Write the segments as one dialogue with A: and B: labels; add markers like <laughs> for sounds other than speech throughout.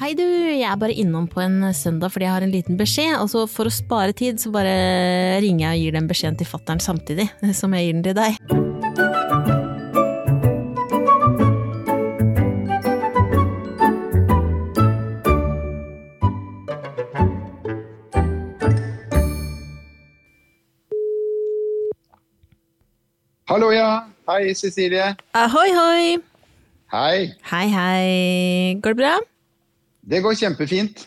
A: Hei du, jeg er bare innom på en søndag fordi jeg har en liten beskjed. Og så for å spare tid, så bare ringer jeg og gir den beskjeden til fattern samtidig <laughs> som jeg gir den til deg.
B: Hallo, ja. Hei, Cecilie.
A: Ahoi, hoi!
B: Hei.
A: Hei, hei. Går det bra?
B: Det går kjempefint.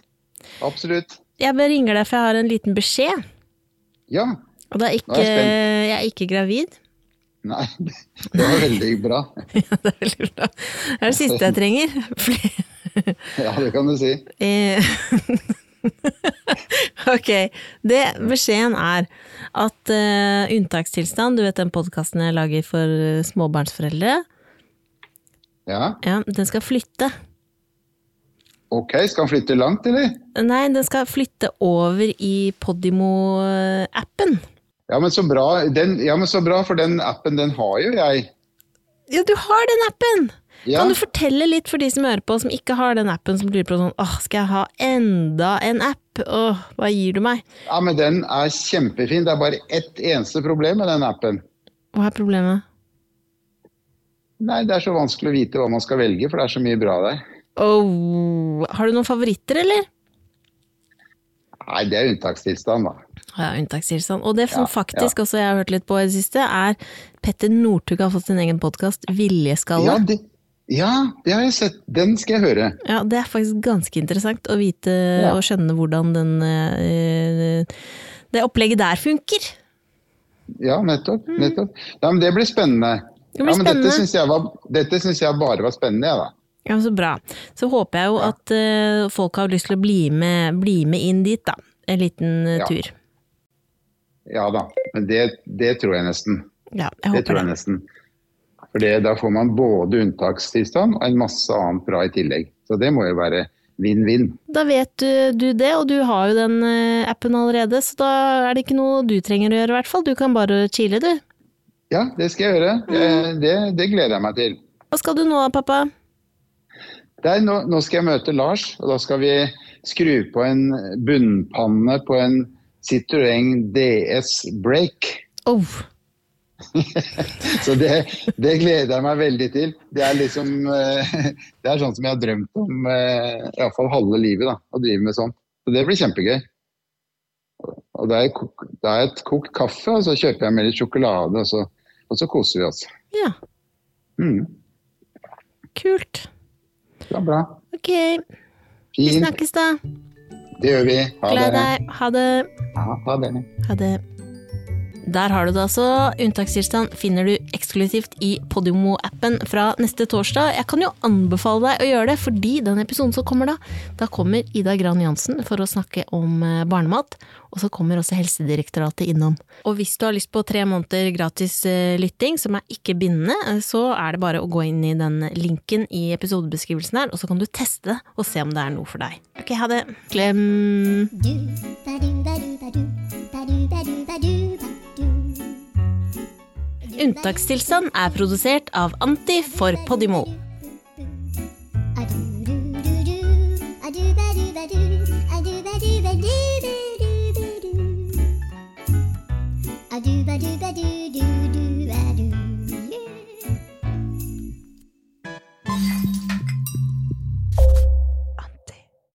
B: Absolutt.
A: Jeg bare ringer deg, for jeg har en liten beskjed.
B: Ja.
A: Og det er
B: Nå er
A: ikke,
B: jeg spent.
A: jeg er ikke gravid. <laughs>
B: Nei, <laughs> det var veldig bra.
A: Ja, det er veldig bra. Det er det siste jeg trenger. <laughs> Fordi
B: Ja, det kan du si.
A: Eh, <laughs> ok. Det beskjeden er at eh, Unntakstilstand, du vet den podkasten jeg lager for eh, småbarnsforeldre,
B: Ja.
A: ja, den skal flytte.
B: Ok, skal han flytte langt, eller?
A: Nei, den skal flytte over i Podimo-appen.
B: Ja, men så bra, den, ja, men så bra for den appen den har jo jeg.
A: Ja, du har den appen!
B: Ja.
A: Kan du fortelle litt for de som hører på, som ikke har den appen, som lurer på sånn åh, skal jeg ha enda en app? Åh, hva gir du meg?
B: ja, men den er kjempefin. Det er bare ett eneste problem med den appen.
A: Hva er problemet?
B: Nei, det er så vanskelig å vite hva man skal velge, for det er så mye bra der.
A: Åh, har du noen favoritter, eller?
B: Nei, det er unntakstilstand, da.
A: Ja, unntakstilstand. Og det som
B: Ja,
A: faktisk også jeg har hørt litt på i det siste, er Petter Northug har fått sin egen podkast,
B: Ja
A: Viljeskalle. Ja.
B: det, ja, det har jeg sett. Den skal jeg høre.
A: det er faktisk ganske interessant å vite
B: Ja.
A: og skjønne hvordan den eh, Det opplegget der funker.
B: Ja, nettopp. nettopp. Ja, men det blir spennende.
A: Mm. Det blir
B: ja, men
A: spennende.
B: Dette syns jeg, var- dette syns jeg bare var spennende, jeg, da.
A: Ja, men Så bra. Så håper jeg jo at eh, folk har lyst til å bli med, bli med inn dit, da. En liten eh,
B: Ja.
A: tur.
B: Ja da. Men det, det tror jeg nesten.
A: Ja, jeg
B: Det
A: håper
B: tror jeg
A: det.
B: nesten. For det- da får man både unntakstilstand og en masse annet bra i tillegg. Så det må jo være vinn-vinn.
A: Da vet du, du det, og du har jo den eh, appen allerede, så da er det ikke noe du trenger å gjøre, i hvert fall. Du kan bare chille, du.
B: Ja, det skal jeg gjøre.
A: Mm.
B: Eh, Det, det gleder jeg meg til.
A: Hva skal du nå, pappa?
B: Der, nå, nå skal jeg møte Lars, og da skal vi skru på en bunnpanne på en Citroën DS Break.
A: Oh,
B: Så det, det gleder jeg meg veldig til. Det er liksom eh, <laughs> Det er sånn som jeg har drømt om eh, i hvert fall halve livet, da, å drive med sånn. Så det blir kjempegøy. Og det er, kok- det er et kokt kaffe, og så kjøper jeg med litt sjokolade, og så, og så koser vi oss.
A: ja.
B: Mm,
A: Kult.
B: det er bra.
A: Ok, vi
B: Fint.
A: snakkes da.
B: Det gjør vi. Ha
A: Gled
B: det.
A: deg. Ha det.
B: Ja, ha det.
A: Ha det. Der har du det altså. Unntakstilstand finner du eksklusivt i Podimo-appen fra neste torsdag. Jeg kan jo anbefale deg å gjøre det, fordi den episoden som kommer da, da kommer Ida Gran Jansen for å snakke om eh, barnemat, og så kommer også Helsedirektoratet innom. Og hvis du har lyst på tre måneder gratis eh, lytting, som er ikke bindende, eh, så er det bare å gå inn i den linken i episodebeskrivelsen her, og så kan du teste det og se om det er noe for deg. Ok, ha det. Klem.
C: do ba do ba do ba do ba do ba do ba do ba do
A: Unntakstilstand er produsert av Anti for Podimo.